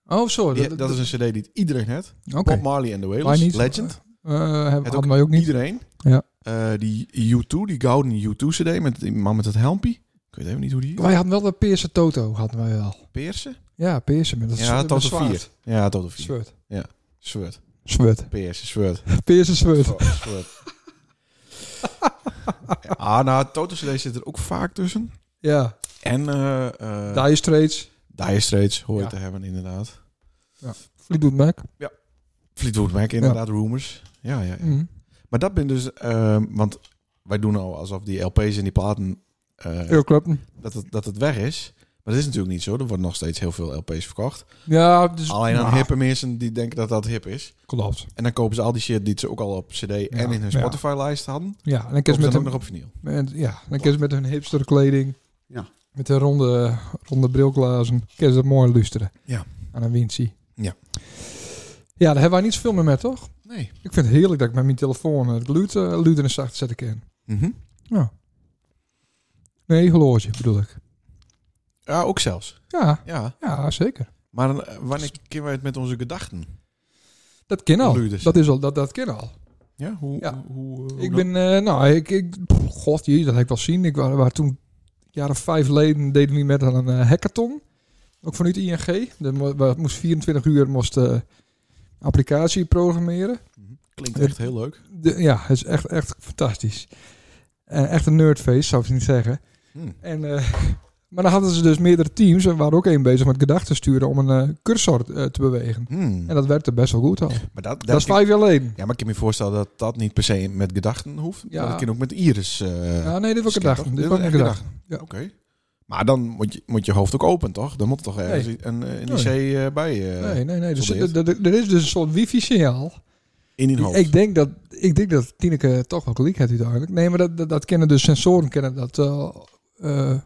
Oh, zo. Die- dat is een cd die iedereen heeft. Oké. Bob Marley and the Wij Wailers, niet. Legend. Eh, hebben Het hadden wij ook niet. Iedereen. Ja. eh, die U2, die gouden U2-cd met die man met het helmpje. Ik weet even niet hoe die Wij hadden wel dat Peerse Toto, hadden wij wel. Peersen? Ja, Peerse met dat Ja, met tot dat de vier. zwaard. Ja, tot de vier. Zwart. Zwart. Zwart. Peersen, zwart. Peerse zwart. Zwart. [LAUGHS] Ah, nou, Toto CD zit er ook vaak tussen. Ja, En eh eh Dire Straits. Dire Straits hoor je Ja. te hebben, inderdaad. Fleetwood Mac. Fleetwood Mac, inderdaad, Rumors. Ja, ja, ja. Mm. Maar dat ben dus... eh, want wij doen al alsof die LP's en die platen... eh, Earl Clapton. dat, het, dat het weg is. Maar dat is natuurlijk niet zo. Er wordt nog steeds heel veel LP's verkocht. Ja, dus... Alleen aan Nou, hippe mensen die denken dat dat hip is. Klopt. En dan kopen ze al die shit die ze ook al op cd en in hun ja. Spotify-lijst hadden. Ja, en dan Kopen kun ze je dan met ook een nog op vinyl. En, ja, dan kun je met hun hipster kleding. Ja. Met de ronde, ronde brilglazen. Kun je dat mooi luisteren. Ja. Aan een windsy. Ja. Ja, daar hebben wij niet zoveel meer met, toch? Nee. Ik vind het heerlijk dat ik met mijn telefoon het geluid, eh, geluid in de zacht zetten kan. Mhm. Nee, horloge bedoel ik. Ja, ook zelfs. Ja, Ja. ja zeker. Maar dan, eh, wanneer kunnen wij het met onze gedachten? Dat ken al. Geluid is- Dat is al, dat, dat ken al. Ja, hoe... Ja. hoe, hoe- hoe Ik dan? ben, eh, nou, ik, ik pff, god, jee, dat heb ik wel zien. Ik was waar toen, een jaar of vijf leden, deden we met aan een eh, hackathon. Ook vanuit ING. Dat mo- we moest 24 uur moest eh, applicatie programmeren. Klinkt echt heel leuk. De- ja, het is echt, echt fantastisch. Eh, echt een nerdfeest, zou ik niet zeggen. Hm. En, eh, [LAUGHS] maar dan hadden ze dus meerdere teams en waren ook één bezig met gedachten sturen om een eh, cursor eh, te bewegen. Hm. En dat werkte best wel goed al. Maar dat, dat, Dat is vijf jaar geleden. Ja, maar ik kan me voorstellen dat dat niet per se met gedachten hoeft. Ja. Maar dat kan ook met iris. eh, Ja, nee, dit was Skip, toch? gedachten. Dit was echt een gedachte. Ja. Oké. Maar dan moet je, moet je hoofd ook open, toch? Dan moet er toch ergens Nee. een, eh, een IC Nee. eh, bij je. Nee, nee, nee. Dus, probeert. er, er- er is dus een soort wifi-signaal. In je hoofd. Ik denk dat, ik denk dat Tineke toch wel gelijk heeft uiteindelijk. Nee, maar dat, dat, dat kennen de sensoren kennen dat eh, eh,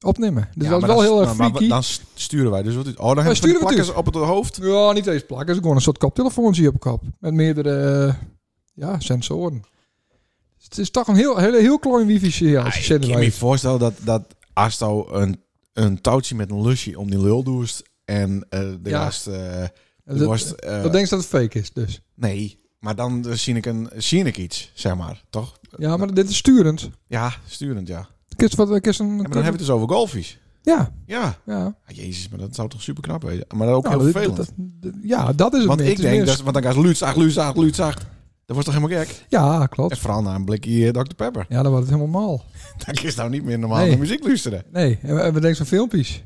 opnemen. Dus Ja, dat is maar wel dan- heel erg nou, maar freaky. dan st- sturen wij dus wat uit. Oh, dan hebben we die sturen we dus. plakkers op het hoofd. Ja, niet eens plakken. Het is gewoon een soort koptelefoontje op kop. Met meerdere eh, ja, sensoren. Dus het is toch een heel, heel, heel klein wifi-signaal. als je Ik zender kan me heeft. voorstellen dat, dat als nou een, een touwtje met een lusje om die lul doest en eh, de Ja. gast... eh, de Dat, worst, eh, dat denk je dat het fake is, dus. nee, maar dan eh, zie, ik een, zie ik iets, zeg maar. Toch? Ja, maar dit is sturend. Ja, sturend, ja. Kist wat, kist een, En dan hebben we het dus over golfies. Ja, Ja. ja. Ah, Jezus, maar dat zou toch super knap zijn. Maar ook Nou, heel dat- vervelend. dat- dat- ja, dat is het. Want meer. ik Het is denk, meer- dat, want dan gaat Luut, zacht, Luut, zacht, Luut, zacht. Dat wordt toch helemaal gek? Ja, klopt. En vooral na een blikje eh, Dr. Pepper. [LAUGHS] Ja, dan wordt het helemaal mal. Dan is nou niet meer normaal Nee. naar muziek luisteren. Nee, en we, en we denken van filmpjes.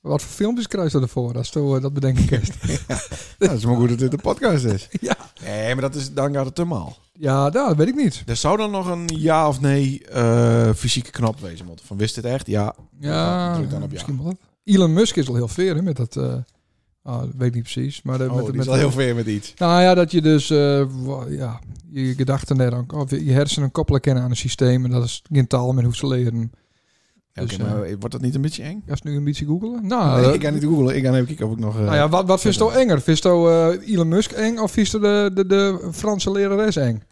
Wat voor filmpjes kruis je ervoor als je eh, dat bedenken [LAUGHS] kunt? Ja, dat is maar goed dat dit een podcast [LAUGHS] is. Ja. Nee, maar dat is, dan gaat het te maal. ja, nou, dat weet ik niet. Er zou dan nog een ja of nee eh, fysieke knop wezen moeten. Van wist dit echt? Ja. Ja, druk dan op ja. misschien wel. Elon Musk is al heel ver hè, met dat... eh ah, dat weet ik niet precies, maar... eh, Oh, met, die met, is al heel ver met iets. Nou ja, dat je dus eh, wa- ja, je gedachten net aan, of je hersenen koppelen kennen aan een systeem en dat is geen taal meer hoeft te leren. Oké, Dus, maar eh, wordt dat niet een beetje eng? Als nu een beetje googelen? Nou, nee, eh, ik ga niet googlen. Ik ga even kijken of ik nog... eh, nou ja, wat, wat vind je nou enger? Vind je nou, eh, Elon Musk eng of vind je de, de, de Franse lerares eng?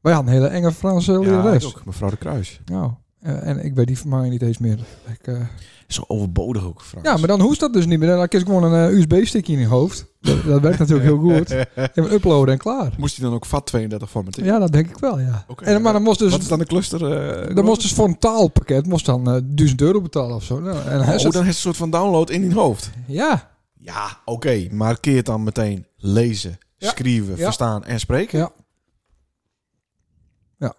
Wij hadden een hele enge Franse ja, ik lerares. ook. Mevrouw de Kruis. Nou, eh, en ik weet die van mij niet eens meer. Ik, eh, Zo overbodig ook, Frans. ja, maar dan hoest dat dus niet meer. Dan kies ik gewoon een eh, USB-stickje in je hoofd. Dat, dat werkt natuurlijk heel [LAUGHS] goed. Even uploaden en klaar. Moest hij dan ook VAT32 formateren? Ja, dat denk ik wel, ja. Oké, en, maar dan moest dus... Wat is dan de cluster? eh, dan knop? moest dus voor een taalpakket moest dan eh 1000 euro betalen of zo. Nou, en hij Oh, zegt, dan is het een soort van download in je hoofd. Ja, Ja, oké. maar keer het dan meteen lezen, Ja. schrijven, Ja. verstaan en spreken. Ja. Ja.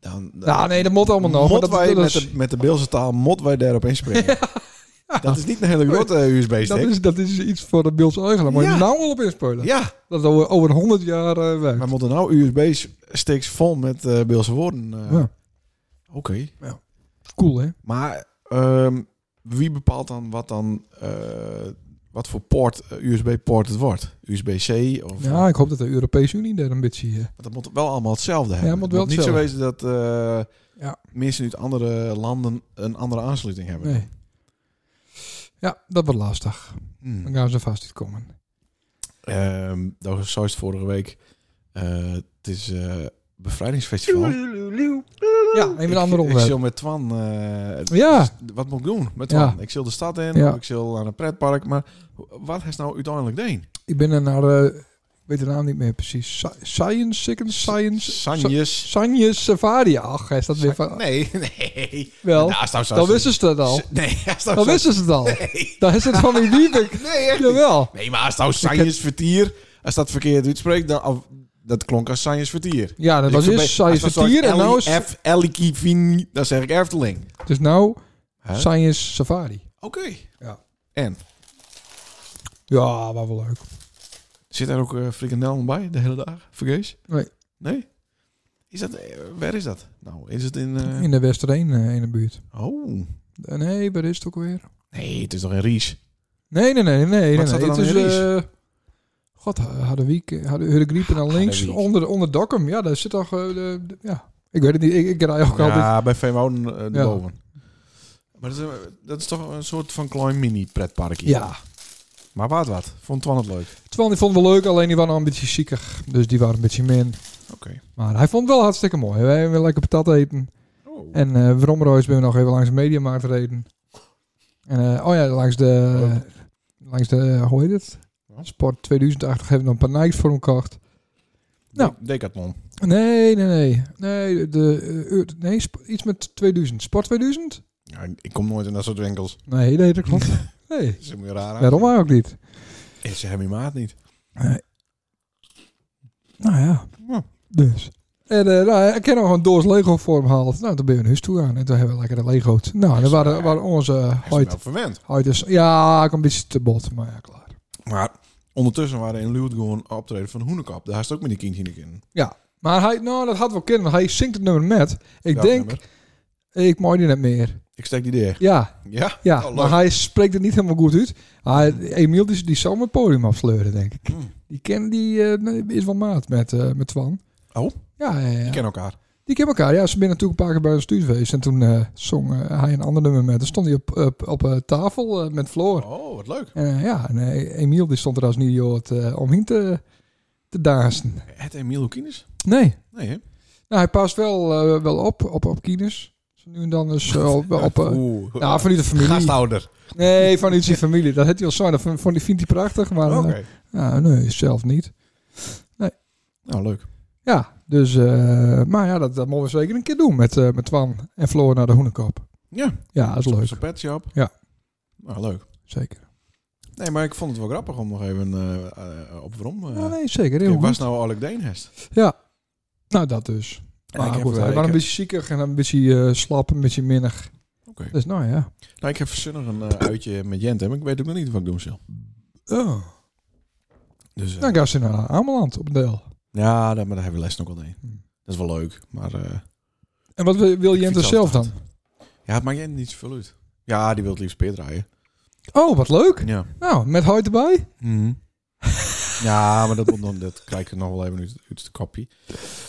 Dan, dan nou, nee, dat moet allemaal nog. maar mot dat, wij dat, met, is, de, met de Beelse taal, mot wij daarop [LAUGHS] inspringen. Dat is niet een hele grote eh, dat, USB-stick. is, dat is iets voor de Beeldse eigenaar. Moet je Ja. er nou wel op inspelen. Ja, Dat is over, over 100 jaar eh, werkt. maar moeten nou USB-sticks vol met eh Beelse woorden? eh, Ja. Oké. Cool, hè? Maar ehm, wie bepaalt dan wat dan... eh, wat voor poort, eh, USB-poort het wordt? USB-C of... Ja, ik hoop dat de Europese Unie daar een beetje... eh, Want dat moet wel allemaal hetzelfde hebben. het moet wel niet zo wezen dat eh, Ja. mensen uit andere landen een andere aansluiting hebben. nee. Ja, dat wordt lastig. Hmm. Dan gaan ze vast niet komen. Ehm, dat was zoals vorige week. Eh, het is eh, bevrijdingsfestival. Ja, even een ander ik, ik onderwerp. zil met Twan. eh, Ja. dus wat moet ik doen met Twan? Ja. Ik zil de stad in, Ja. of ik zil aan een pretpark. Maar wat is nou uiteindelijk deen? Ik ben er naar eh weet de naam niet meer precies. Sa- Science, Second Science... Sa- Sanjes. Sanje Savaria. Ach, hij staat weer van... Nee, [LAUGHS] nee. Wel, Nou, stop, stop, dan stop. wisten ze dat al. [LAUGHS] Nee, nou hij staat Dan zo- wisten ze het al. Nee. Dan is het van [LAUGHS] die Liebig. Nee, echt niet. Jawel. Nee, maar als het nou Sanjes vertier, als dat verkeerd uitspreekt, dan, of, dat klonk als Sanjes vertier. Ja, dat was eerst Science Vertier en nou is... E F, Eliki, Vini, dan zeg ik Efteling. Dus nou Huh? Science Safari. Oké. Ja. En, Ja, maar wel leuk. zit daar ook eh frikandel bij de hele dag? Vergees? Nee. Nee? Is dat, eh, waar is dat? Nou, is het in... eh, In de Westereen eh, in de buurt. Oh. Eh, Nee, waar is het ook weer? Nee, het is toch in Ries? Nee, nee, nee, nee. nee, Wat nee. zat er Het dan is, in eh, God, Harderwijk, Hurgriep en dan links. Harderwijk. Onder, onder Dokkum. Ja, daar zit toch... eh, de, de- ja, ik weet het niet. Ik, ik rij ook altijd... Ja, bij VMO uh, Ja. boven. Maar dat is, eh, dat is toch een soort van klein mini-pretparkje? Ja. Maar wat wat? Vond Twan het leuk? Twan die vond het wel leuk, alleen die waren al een beetje ziekig. Dus die waren een beetje min. Oké. Maar hij vond het wel hartstikke mooi. Wij hebben lekker patat eten. Oh. En eh Vromroois ben we nog even langs de Mediamarkt gereden. En eh, oh ja, langs de... Langs de, hoe heet het? Oh. Wat? Sport 2080 hebben we nog een paar Nikes voor hem gekocht. nou. Decathlon. Nee, nee, nee. Nee, de, eh, eh, nee sp- iets met 2000. Sport 2000? Ja, ik- ik kom nooit in dat soort winkels. Nee, nee, dat klopt. Nee, Dat is me raar. aan. waarom ook niet? En ze hebben je maat niet. Nou ja, Ja. dus. En eh nou, ik heb nog een doos Lego voor hem gehaald. Nou, toen ben je naar huis toe gaan en toen hebben we lekker de Lego's. Nou, dat waren, waren onze eh, Hij is huid, wel verwend. huid is, ja, ik een beetje te bot, maar ja, klaar. Maar ondertussen waren in Luwet gewoon optreden van Hoenekap. Daar is het ook met die kindje in. in. Maar hij, nou, dat had wel kunnen. Hij zingt het nummer met. Ik Ja, denk, nummer. ik mooi die net meer. Ik steek die dicht. Ja, Ja? Ja, Oh, leuk. maar hij spreekt het niet helemaal goed uit. Hij, Emiel die, die zal met het podium afsleuren, denk ik. Hmm. Die, ken, die eh, is wel maat met, eh, met Twan. Oh? Ja, ja, ja. Die kennen elkaar. die kennen elkaar. Ja, ze zijn natuurlijk een paar keer bij ons thuis geweest. En toen eh, zong eh, hij een ander nummer met. Dan stond hij op, op, op eh, tafel eh, met Floor. Oh, wat leuk. En eh, ja, en, eh, Emiel die stond er als niet joh, het, eh, om heen te, te dansen. Het Emilio Kines? Nee. Nee, hè? Nou, hij past wel, eh, wel op, op, op kines. Zo Nu en dan dus eh, op... op eh, Oeh. nou, vanuit de familie. Gastouder. Nee, vanuit [LAUGHS] zijn familie. Dat had hij al zo. Dat vond vond- vindt hij prachtig. Maar eh, Oké. Ja, nee, zelf niet. Nou, leuk. Ja, dus, eh, maar ja, dat, dat mogen we zeker een keer doen met, eh, met Twan en Floor naar de Hoenekop. Ja. Ja, dat is leuk. Zo'n pet shop. Ja. Nou, leuk. Zeker. Nee, maar ik vond het wel grappig om nog even eh, eh, op waarom. eh, Ja, nee, zeker. Heel ik was goed. nou Alec Deenhest. Nou, dat dus. En Maar ik heb, goed, eh, hij ik was een heb- beetje ziekig en een beetje eh, slap, een beetje minnig. Oké. Dus nou ja. Nou, ik heb verzinnig een eh, uitje met Jent, hè, maar ik weet ook nog niet wat ik doen zal. Oh. Dus, eh, Dan gaan ze naar Ameland op deel. ja, dat, maar daar hebben we les nog wel een. Hmm. Dat is wel leuk, maar eh, En wat wil, wil Ik Jente fiets zelf dan? altijd. ja, het maakt Jent niet zoveel uit. Ja, die wil het liefst peerdraaien. Oh, wat leuk. Ja. Nou, met huid erbij? [LAUGHS] ja, maar dat, moet nog, dat krijg ik nog wel even uit, uit het kopje.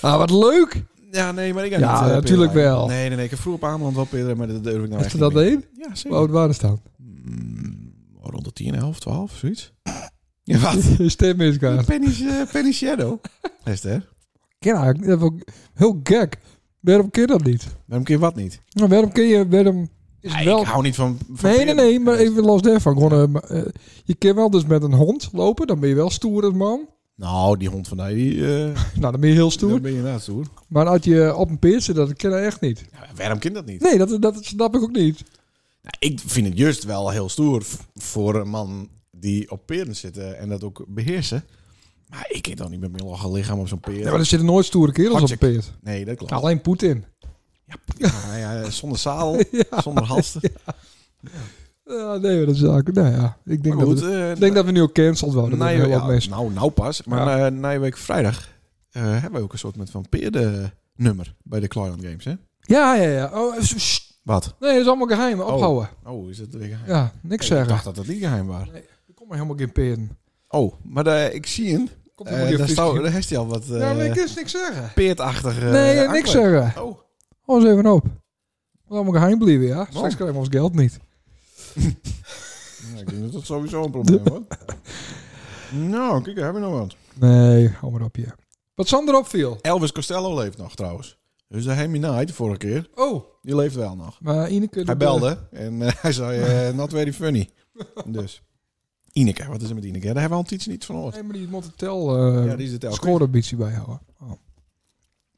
Ah, wat leuk. Ja, nee, maar ik ga Ja, niet, eh, natuurlijk peerdraaien. wel. Nee, nee, nee, ik heb vroeger op Ameland wel peerdraaien, maar dat durf ik nou Als ze echt dat niet meer. deed, Ja, hoe zeker. oud waren ze [LAUGHS] dan? Mm, rond de 10, 11, 12, zoiets. [LAUGHS] Ja, wat? Stem is gaan. Penny's, eh, Penny Shadow. [LAUGHS] Is het, hè? Ja, dat is wel heel gek. Waarom kun je dat niet? Waarom keer wat niet? Nou, waarom kun je... Waarom is Ja, het wel... Ik hou niet van... van Nee, nee, peerdraaien. nee, maar even los daarvan. Gewoon, eh, maar, eh, je kan wel dus met een hond lopen, dan ben je wel stoer als man. Nou, die hond van mij, die... [LAUGHS] eh, Nou, dan ben je heel Dan stoer. ben je inderdaad stoer. Maar als je op een peer zit, dat kan dat echt niet. Ja, waarom kind dat niet? Nee, dat, dat snap ik ook niet. Nou, ik vind het juist wel heel stoer v- voor een man die op peren zitten en dat ook beheersen. Maar ik kan dan niet met mijn logge lichaam op zo'n peren. Ja, maar er zitten nooit stoere kerels op een Hartstikke. peer. Nee, dat klopt. Alleen Poetin. Ja, Ah, ja, zonder [LAUGHS] zadel, zonder halster. Ja, Eh, nee, maar dat is ook... Nou ja, ik denk, Maar goed, dat, we, eh, ik denk dat we nu ook cancelled worden. Dat na- is heel ja, wat mensen. nou, nou pas. Maar na, na week vrijdag eh, hebben we ook een soort met van peerde nummer bij de Clyde Games, hè? Ja, ja, ja. Oh, even zo- sst. Wat? nee, dat is allemaal geheim. Ophouden. Oh, is het weer geheim? Ja, niks Ik zeggen. dacht dat dat niet geheim was. Er komen helemaal geen peren. Oh, maar daar- ik zie hem. Komt helemaal Eh geen daar vis- zou- daar heeft hij al wat Ja, maar ik eh kan niks zeggen. peerdachtig... eh, Nee, eh, niks aankleed. zeggen. Oh, Hou eens even op. Laat me geheim blijven, ja. Straks krijgen we ons geld niet. nou, ik denk dat dat sowieso een [LAUGHS] probleem wordt. nou, kijk, daar heb je nog wat. Nee, hou maar op, ja. Wat Sander opviel. Elvis Costello leeft nog trouwens. Dus de Hemi Night, de vorige keer, Oh, die leeft wel nog. maar Ineke... [LAUGHS] Hij de- belde en eh, hij zei, eh, not very funny. Dus, Ineke, wat is er met Ineke? Daar hebben we al iets niet van gehoord. Nee, maar die moet het tel eh ja, die is het elke scoreambitie bijhouden. Oh.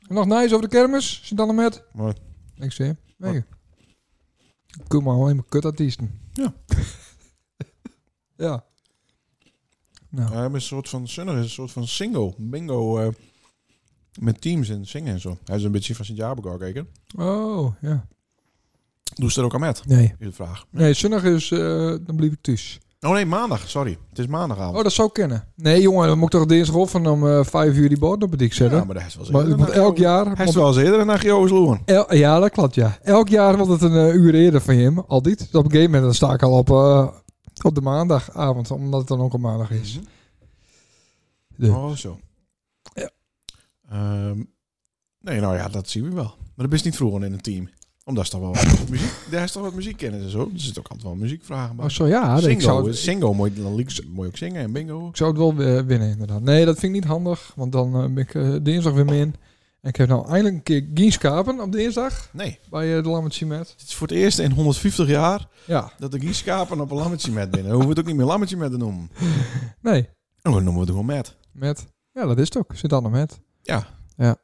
En nog nice over de kermis? Zit dan er met? Mooi. Niks hè? Nee. Kom maar alleen maar kutartiesten. Ja. [LAUGHS] ja. We hebben een soort van Sunner is een soort van single, bingo. eh, met teams en zingen en zo. Hij is een beetje van Sint-Jabelgaard gekeken. Oh, ja. Doe ze er ook aan met? Nee. Is de vraag. Nee, zondag is... eh, dan blijf ik thuis. Oh nee, maandag. Sorry. Het is maandagavond. Oh, dat zou kennen. Nee, jongen. Dan moet ik toch dinsdag op en om eh, vijf uur die boot op het dik zetten. ja, maar hij is wel eens maar eerder het moet naar elk Geo- jaar... Hij is moet- wel eens eerder naar Geo Sloen. el- ja, dat klopt, ja. Elk jaar wordt het een eh, uur eerder van hem. Altijd. Dus op een gegeven moment dan sta ik al op, eh, op de maandagavond. Omdat het dan ook een maandag Mhm. is. De- Oh, zo. Ja. Ehm, nee, nou ja, dat zien we wel. Maar dat is niet vroeger in een team. Omdat is toch [LAUGHS] wel wat muziek. Daar is toch wat muziekkennis en zo. Er zit ook altijd wel muziekvragen bij. Oh, zo ja. singo, Ik zou, is- singo moet je dan liek- moet je ook zingen en bingo. Ik zou het wel eh, winnen, inderdaad. Nee, dat vind ik niet handig, want dan eh, ben ik eh, dinsdag weer min. En ik heb nou eindelijk een keer Gienskapen op dinsdag Nee, bij eh, de Lammetje met. het is voor het eerst in 150 jaar Ja, dat ik hier schapen op een lammetje met ben. Dan hoeven we het ook niet meer lammetje met te noemen. Oh, nee, Dan noemen we het gewoon met. met. Ja, dat is het ook. Zit dan nog met. Ja. Ja.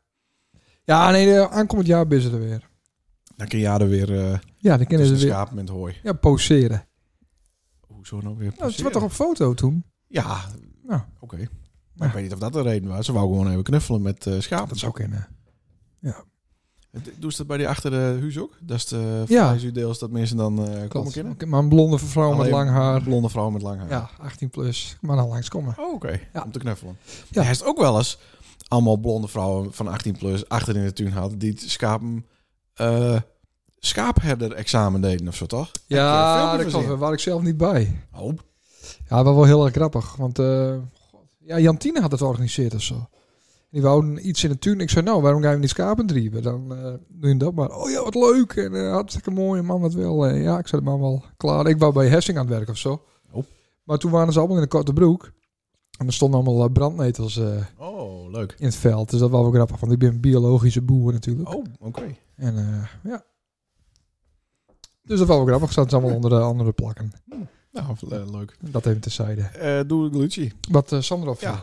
Ja, nee, de aankomend jaar ben ze er weer. Dan kun je er weer eh Ja, dan kennen tussen ze de weer. schapen met hooi. Ja, poseren. Hoezo nou weer? Nou, ze was passeren? toch op foto toen? Ja, Nou. oké. Maar ik weet niet of dat de reden was. Ze wou gewoon even knuffelen met eh schapen. Dat zou kunnen. D- Doe ze dat bij die achter de huis ook? Dat is de Ja. ja. deels dat mensen dan eh komen Klopt. kennen. Oké, Maar een blonde vrouw met Alleen lang haar. Blonde vrouw met lang haar. Ja, 18 plus. Maar dan langskomen. Oh, oké. Ja. Om te knuffelen. Ja. Ja. Hij heeft ook wel eens allemaal blonde vrouwen van 18 plus achter in de tuin had die het schapen eh schaapherder examen deden of zo toch? Heb je een Ja, filmpje dat klopt. gezien? Daar was ik zelf niet bij. Oh, Ja, wel wel heel erg grappig. Want eh, god, ja, Jantine had het georganiseerd of zo. Die wouden iets in de tuin. Ik zei, nou, waarom ga je niet schapen drieven? Dan eh doe je dat maar. Oh ja, wat leuk. En eh, hartstikke mooi. En man, wat wel. En ja, ik zei, man, wel klaar. Ik wou bij Hessing aan het werk of zo. Oh. Maar toen waren ze allemaal in een korte broek. En er stonden allemaal eh, brandnetels eh, oh leuk. in het veld. Dus dat was wel grappig. Want ik ben een biologische boer natuurlijk. Oh, oké. En eh, ja. Dus dat was wel grappig. Zaten ze allemaal onder de andere plakken. Nou, eh, leuk. Dat even tezijde. Eh doe ik Lucie. Wat eh Sandra of Ja.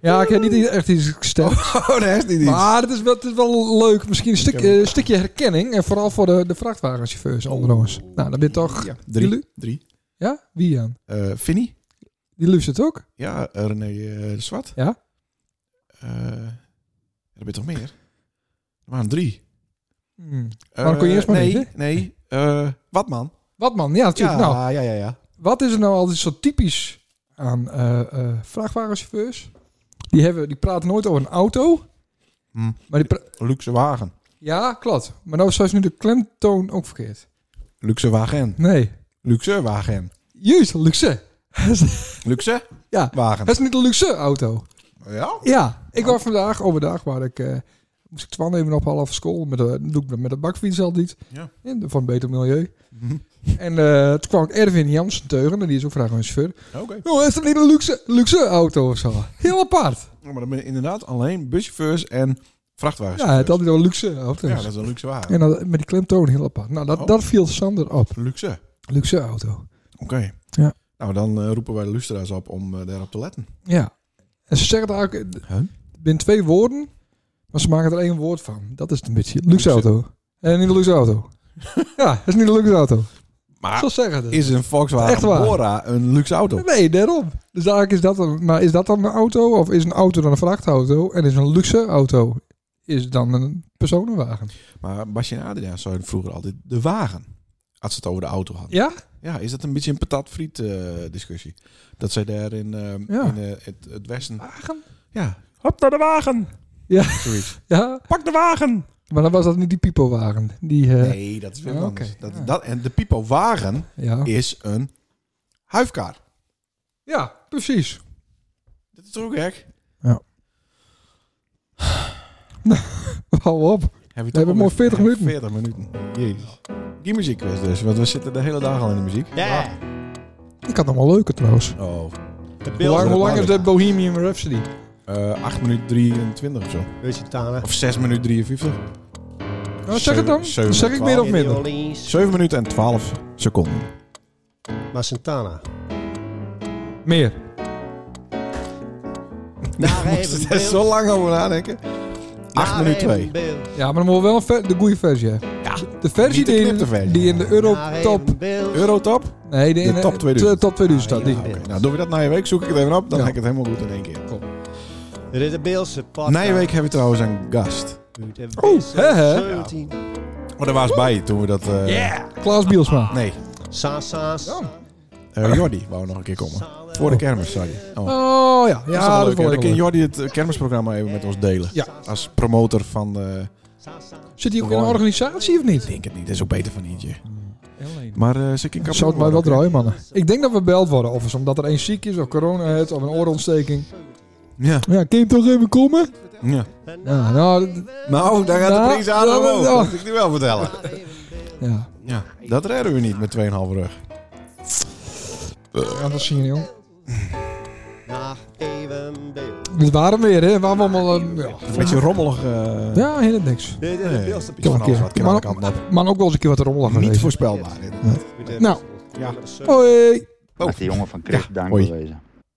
Ja, ik heb niet echt iets gestemd. Oh, daar is niet Maar het is, wel, het is wel leuk. Misschien een stuk, Ik heb- eh, een stukje herkenning. En vooral voor de, de vrachtwagenchauffeurs onderoos. Nou, dan ben je toch... Ja, drie. Jullie? Drie. Ja? Wie aan? Eh Finny. Die luistert ook? Ja, eh, René eh, de Zwart. Ja. Eh, er ben je toch meer? Er waren drie. Hmm. Maar Waarom kon je eerst maar nee, niet, Nee, eh, wat man? Wat man? Ja, natuurlijk. Nou, ja, ja, ja. wat is er nou altijd zo typisch aan eh, eh, vrachtwagenchauffeurs? Die, hebben, die praten nooit over een auto. Hm. Maar die pra- Luxe wagen. ja, klopt. Maar nou is nu de klemtoon ook verkeerd. Luxe wagen. Nee. Luxe wagen. Juist, luxe. Luxe ja. wagen. Het is niet een luxe auto. Ja? Ja, ik was vandaag overdag waar ik. eh, moest ik Twan even ophalen van school. Met de, doe ik dat met de bakfiets altijd. Ja. Mhm. En Van beter milieu. En eh, toen kwam ik Erwin Jansen teugen. En die is ook vandaag mijn chauffeur. Oké. Nou, is dat niet een luxe, luxe auto of zo? Heel apart. Ja, Maar dan ben je inderdaad alleen buschauffeurs en vrachtwagens. Ja, het had wel luxe auto's. ja, dat is een luxe wagen. En dat, met die klemtoon heel apart. Nou, dat, Oh. dat viel Sander op. Luxe. Luxe auto. Oké. Ja. Nou, dan eh, roepen wij de lustra's op om eh, daarop te letten. Ja. En ze zeggen het eigenlijk eh, Huh? binnen twee woorden. Maar ze maken er één woord van. Dat is het een beetje. Luxe Luxe. auto. En niet een luxe [LAUGHS] auto. ja, dat is niet een luxe auto. Maar Zo zeggen ze. Ah. is een Volkswagen Echt waar. Bora een luxe auto? Nee, daarom. Dus eigenlijk is dat dan, maar is dat dan een auto? Of is een auto dan een vrachtauto? En is een luxe auto is dan een personenwagen? Maar Basje en Adriaan zeiden vroeger altijd de wagen. Als ze het over de auto hadden. Ja? Ja, is dat een beetje een patatfriet eh discussie? Dat zij daar in, eh, Ja. in eh, het, het westen... Wagen? Ja. Hop naar de wagen! Ja. Zoiets. Ja, Pak de wagen! maar dan was dat niet die Pipo-wagen. Die, eh, Nee, dat is weer Ja, wat anders. oké, dat, ja. Ah. dat, en de Pipo wagen ja. is een huifkar. ja, precies. Dat is toch ook gek? Hou op. Heb je We hebben maar 40 minuten. 40 minuten. Jezus. Die muziekquiz dus, want we zitten de hele dag al in de muziek. Yeah. Ik had nog wel leuker trouwens. Oh, De Hoe lang, hoe lang is de de Bohemian Rhapsody? eh 8 minuten 23 of zo. Lusitana. Of 6 minuten 53. Nou, zeg het dan. Zeven- Zeg ik meer of minder? Orleans. [LAUGHS] 7 minuten en 12 seconden. Maar Santana. Meer. Naar Dus even Daar is zo lang over nadenken. 8 minuten 2. Ja, maar dan moet wel een ver- de goede versie hebben. Ja. De versie Niet de die, in- knipte versie. die in de Eurotop... Eurotop? Nee, die in eh, De top 2000. top 2000 staat. Die. Ja, Oké, nou doen we dat na je week. Zoek ik het even op. Dan Ja. ga ik het helemaal goed in één keer. Dit is de Beelse podcast. eh, Na je week hebben we trouwens een gast. Uit de Oh, Beelse hè, hè? 17. Oh, daar was bij toen we dat... eh, Klaas Bielsma. Nee, Sa, sa, sa. Ja. eh, Jordi wou nog een keer komen. Voor de kermis, sorry. Oh. Oh ja, ja, Ja, dat vond ik Dan wel kan leuk. Jordi het eh, kermisprogramma even met ons delen. Ja. Als promotor van... eh, Ik Zit hij ook in een organisatie of niet? denk het niet, dat is ook beter van eentje. Maar eh ze kan Dat zou het mij wel draaien, mannen. Ik denk dat we beld worden. Of eens omdat er een ziek is, of corona heeft, of een oorontsteking. Ja. Ja, kun je toch even komen? ja. Ja, nou, dat- Nou, daar gaat Nou, de prijs aan dat- dat- omhoog. Dat moet ik nu wel vertellen. ja. Ja, dat redden we niet met 2,5 rug. ja, dat zien we, joh. Naar even beeld. Het waren weer, hè? Waarom allemaal... eh, ja. Een beetje rommelig. eh, ja, helemaal niks. Dit is de Nee, Beelse Kan van een keer. alles wat kan Maar- alle kanten op. Maar ook wel eens een keer wat rommelig Niet geweest. voorspelbaar. podcast. Nou. Ja. Hoi! Maakt die jongen van Chris Oh. Ja, dank hoi. bewezen.